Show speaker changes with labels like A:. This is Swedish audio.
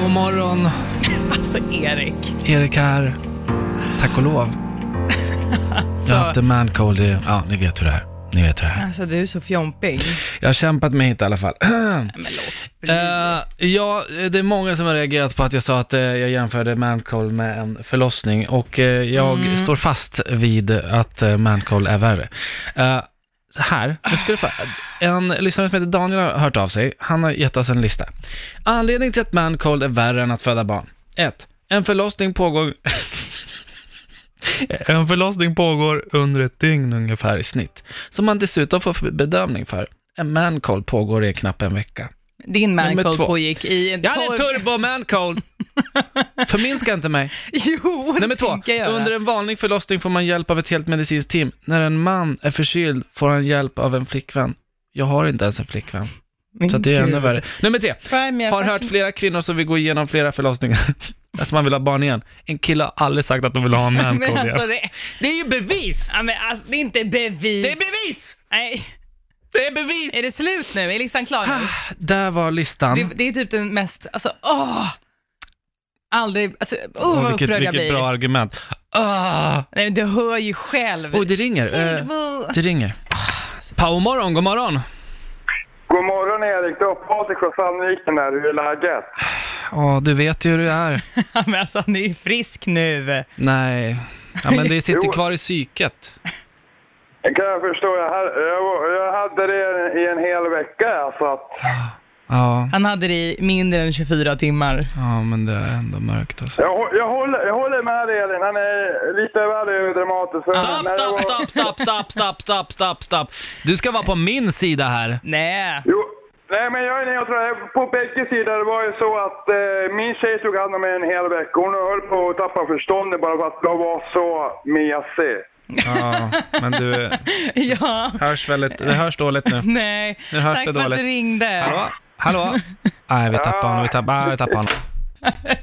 A: god morgon.
B: Alltså Erik.
A: Erik här. Tack och lov. Jag har haft
B: Så,
A: en man cold i... Ja, ni vet hur det är. Ni vet hur det är.
B: alltså du är så fjompig.
A: Jag har kämpat mig hit i alla fall.
B: Nej, men låt bli.
A: Eh, ja, det är många som har reagerat på att jag sa att eh, jag jämförde mancold med en förlossning och eh, jag står fast vid att eh, mancold är värre. Eh, så här, nu ska du få, en lyssnare som heter Daniel har hört av sig, han har gett oss en lista. Anledning till att mancold är värre än att föda barn. 1. En förlossning pågår... En förlossning pågår under ett dygn ungefär i snitt, som man dessutom får för- bedömning för. En mancold pågår i knappt en vecka.
B: Din
A: nummer
B: mancold
A: två.
B: pågick i en
A: Jag hade en
B: torr-
A: turbo man cold. Förminska inte mig.
B: Jo,
A: Nummer
B: det
A: två.
B: tänker jag
A: Under
B: göra.
A: en vanlig förlossning får man hjälp av ett helt medicinskt team. När en man är förkyld får han hjälp av en flickvän. Jag har inte ens en flickvän,
B: Min
A: så att det är
B: gud.
A: ännu värre. Nummer tre.
B: Nej, men jag
A: Har hört
B: fattar-
A: flera kvinnor som vill gå igenom flera förlossningar. Alltså man vill ha barn igen. En kille har aldrig sagt att de vill ha en man
B: Men
A: cold
B: alltså
A: igen.
B: det,
A: Det är ju bevis!
B: ja, men alltså det är inte bevis.
A: Det är bevis!
B: Nej,
A: Det är bevis!
B: är det slut nu? Är listan klar nu?
A: Ah. Där var listan.
B: Eh, Det, det är typ den mest, alltså åh! Aldrig, alltså åh
A: Åh,
B: vad
A: vilket
B: upprörd jag
A: vilket
B: blir.
A: bra argument. Ah!
B: Nej, men du hör ju själv.
A: Oh, det ringer. Eh,
B: Turbo.
A: Det ringer.
B: Ah,
A: Powermorgon, god morgon.
C: God morgon Erik, det var Patrik från Sandviken här. Hur är läget?
A: Ja, du vet ju hur det är.
B: Ja, men alltså han är ju frisk nu.
A: Nej. Ja, men det sitter
C: Jo.
A: kvar i psyket.
C: Det kan jag förstå. Jag, ha- jag, var- jag hade det i en hel vecka. Så att,
A: Ja,
B: Han hade det i mindre än 24 timmar.
A: ja men det är ändå mörkt alltså.
C: jag, hå- jag, håller, jag håller med dig Elin, han är lite väl överdramatisk. Men
A: Stopp,
C: när det
A: stopp,
C: var-
A: stopp, stopp, stopp, stopp, stopp, stopp, stopp. Du ska vara på min sida här.
B: Nej.
C: Jo, nej men jag är neutral. Jag- På bägge sidor det var ju så att eh, min tjej tog hand om mig en hel vecka. Hon höll på att tappa förståndet bara för att jag var så mesig.
A: Ja, men du
B: Ja.
A: hörs väldigt, det hörs dåligt nu.
B: Nej.
A: Nu hörs
B: Tack
A: det
B: för att
A: dåligt.
B: du ringde.
A: Hallå? Hallå? Nej, vi tappar honom, vi tappar, ah, vi tappar honom.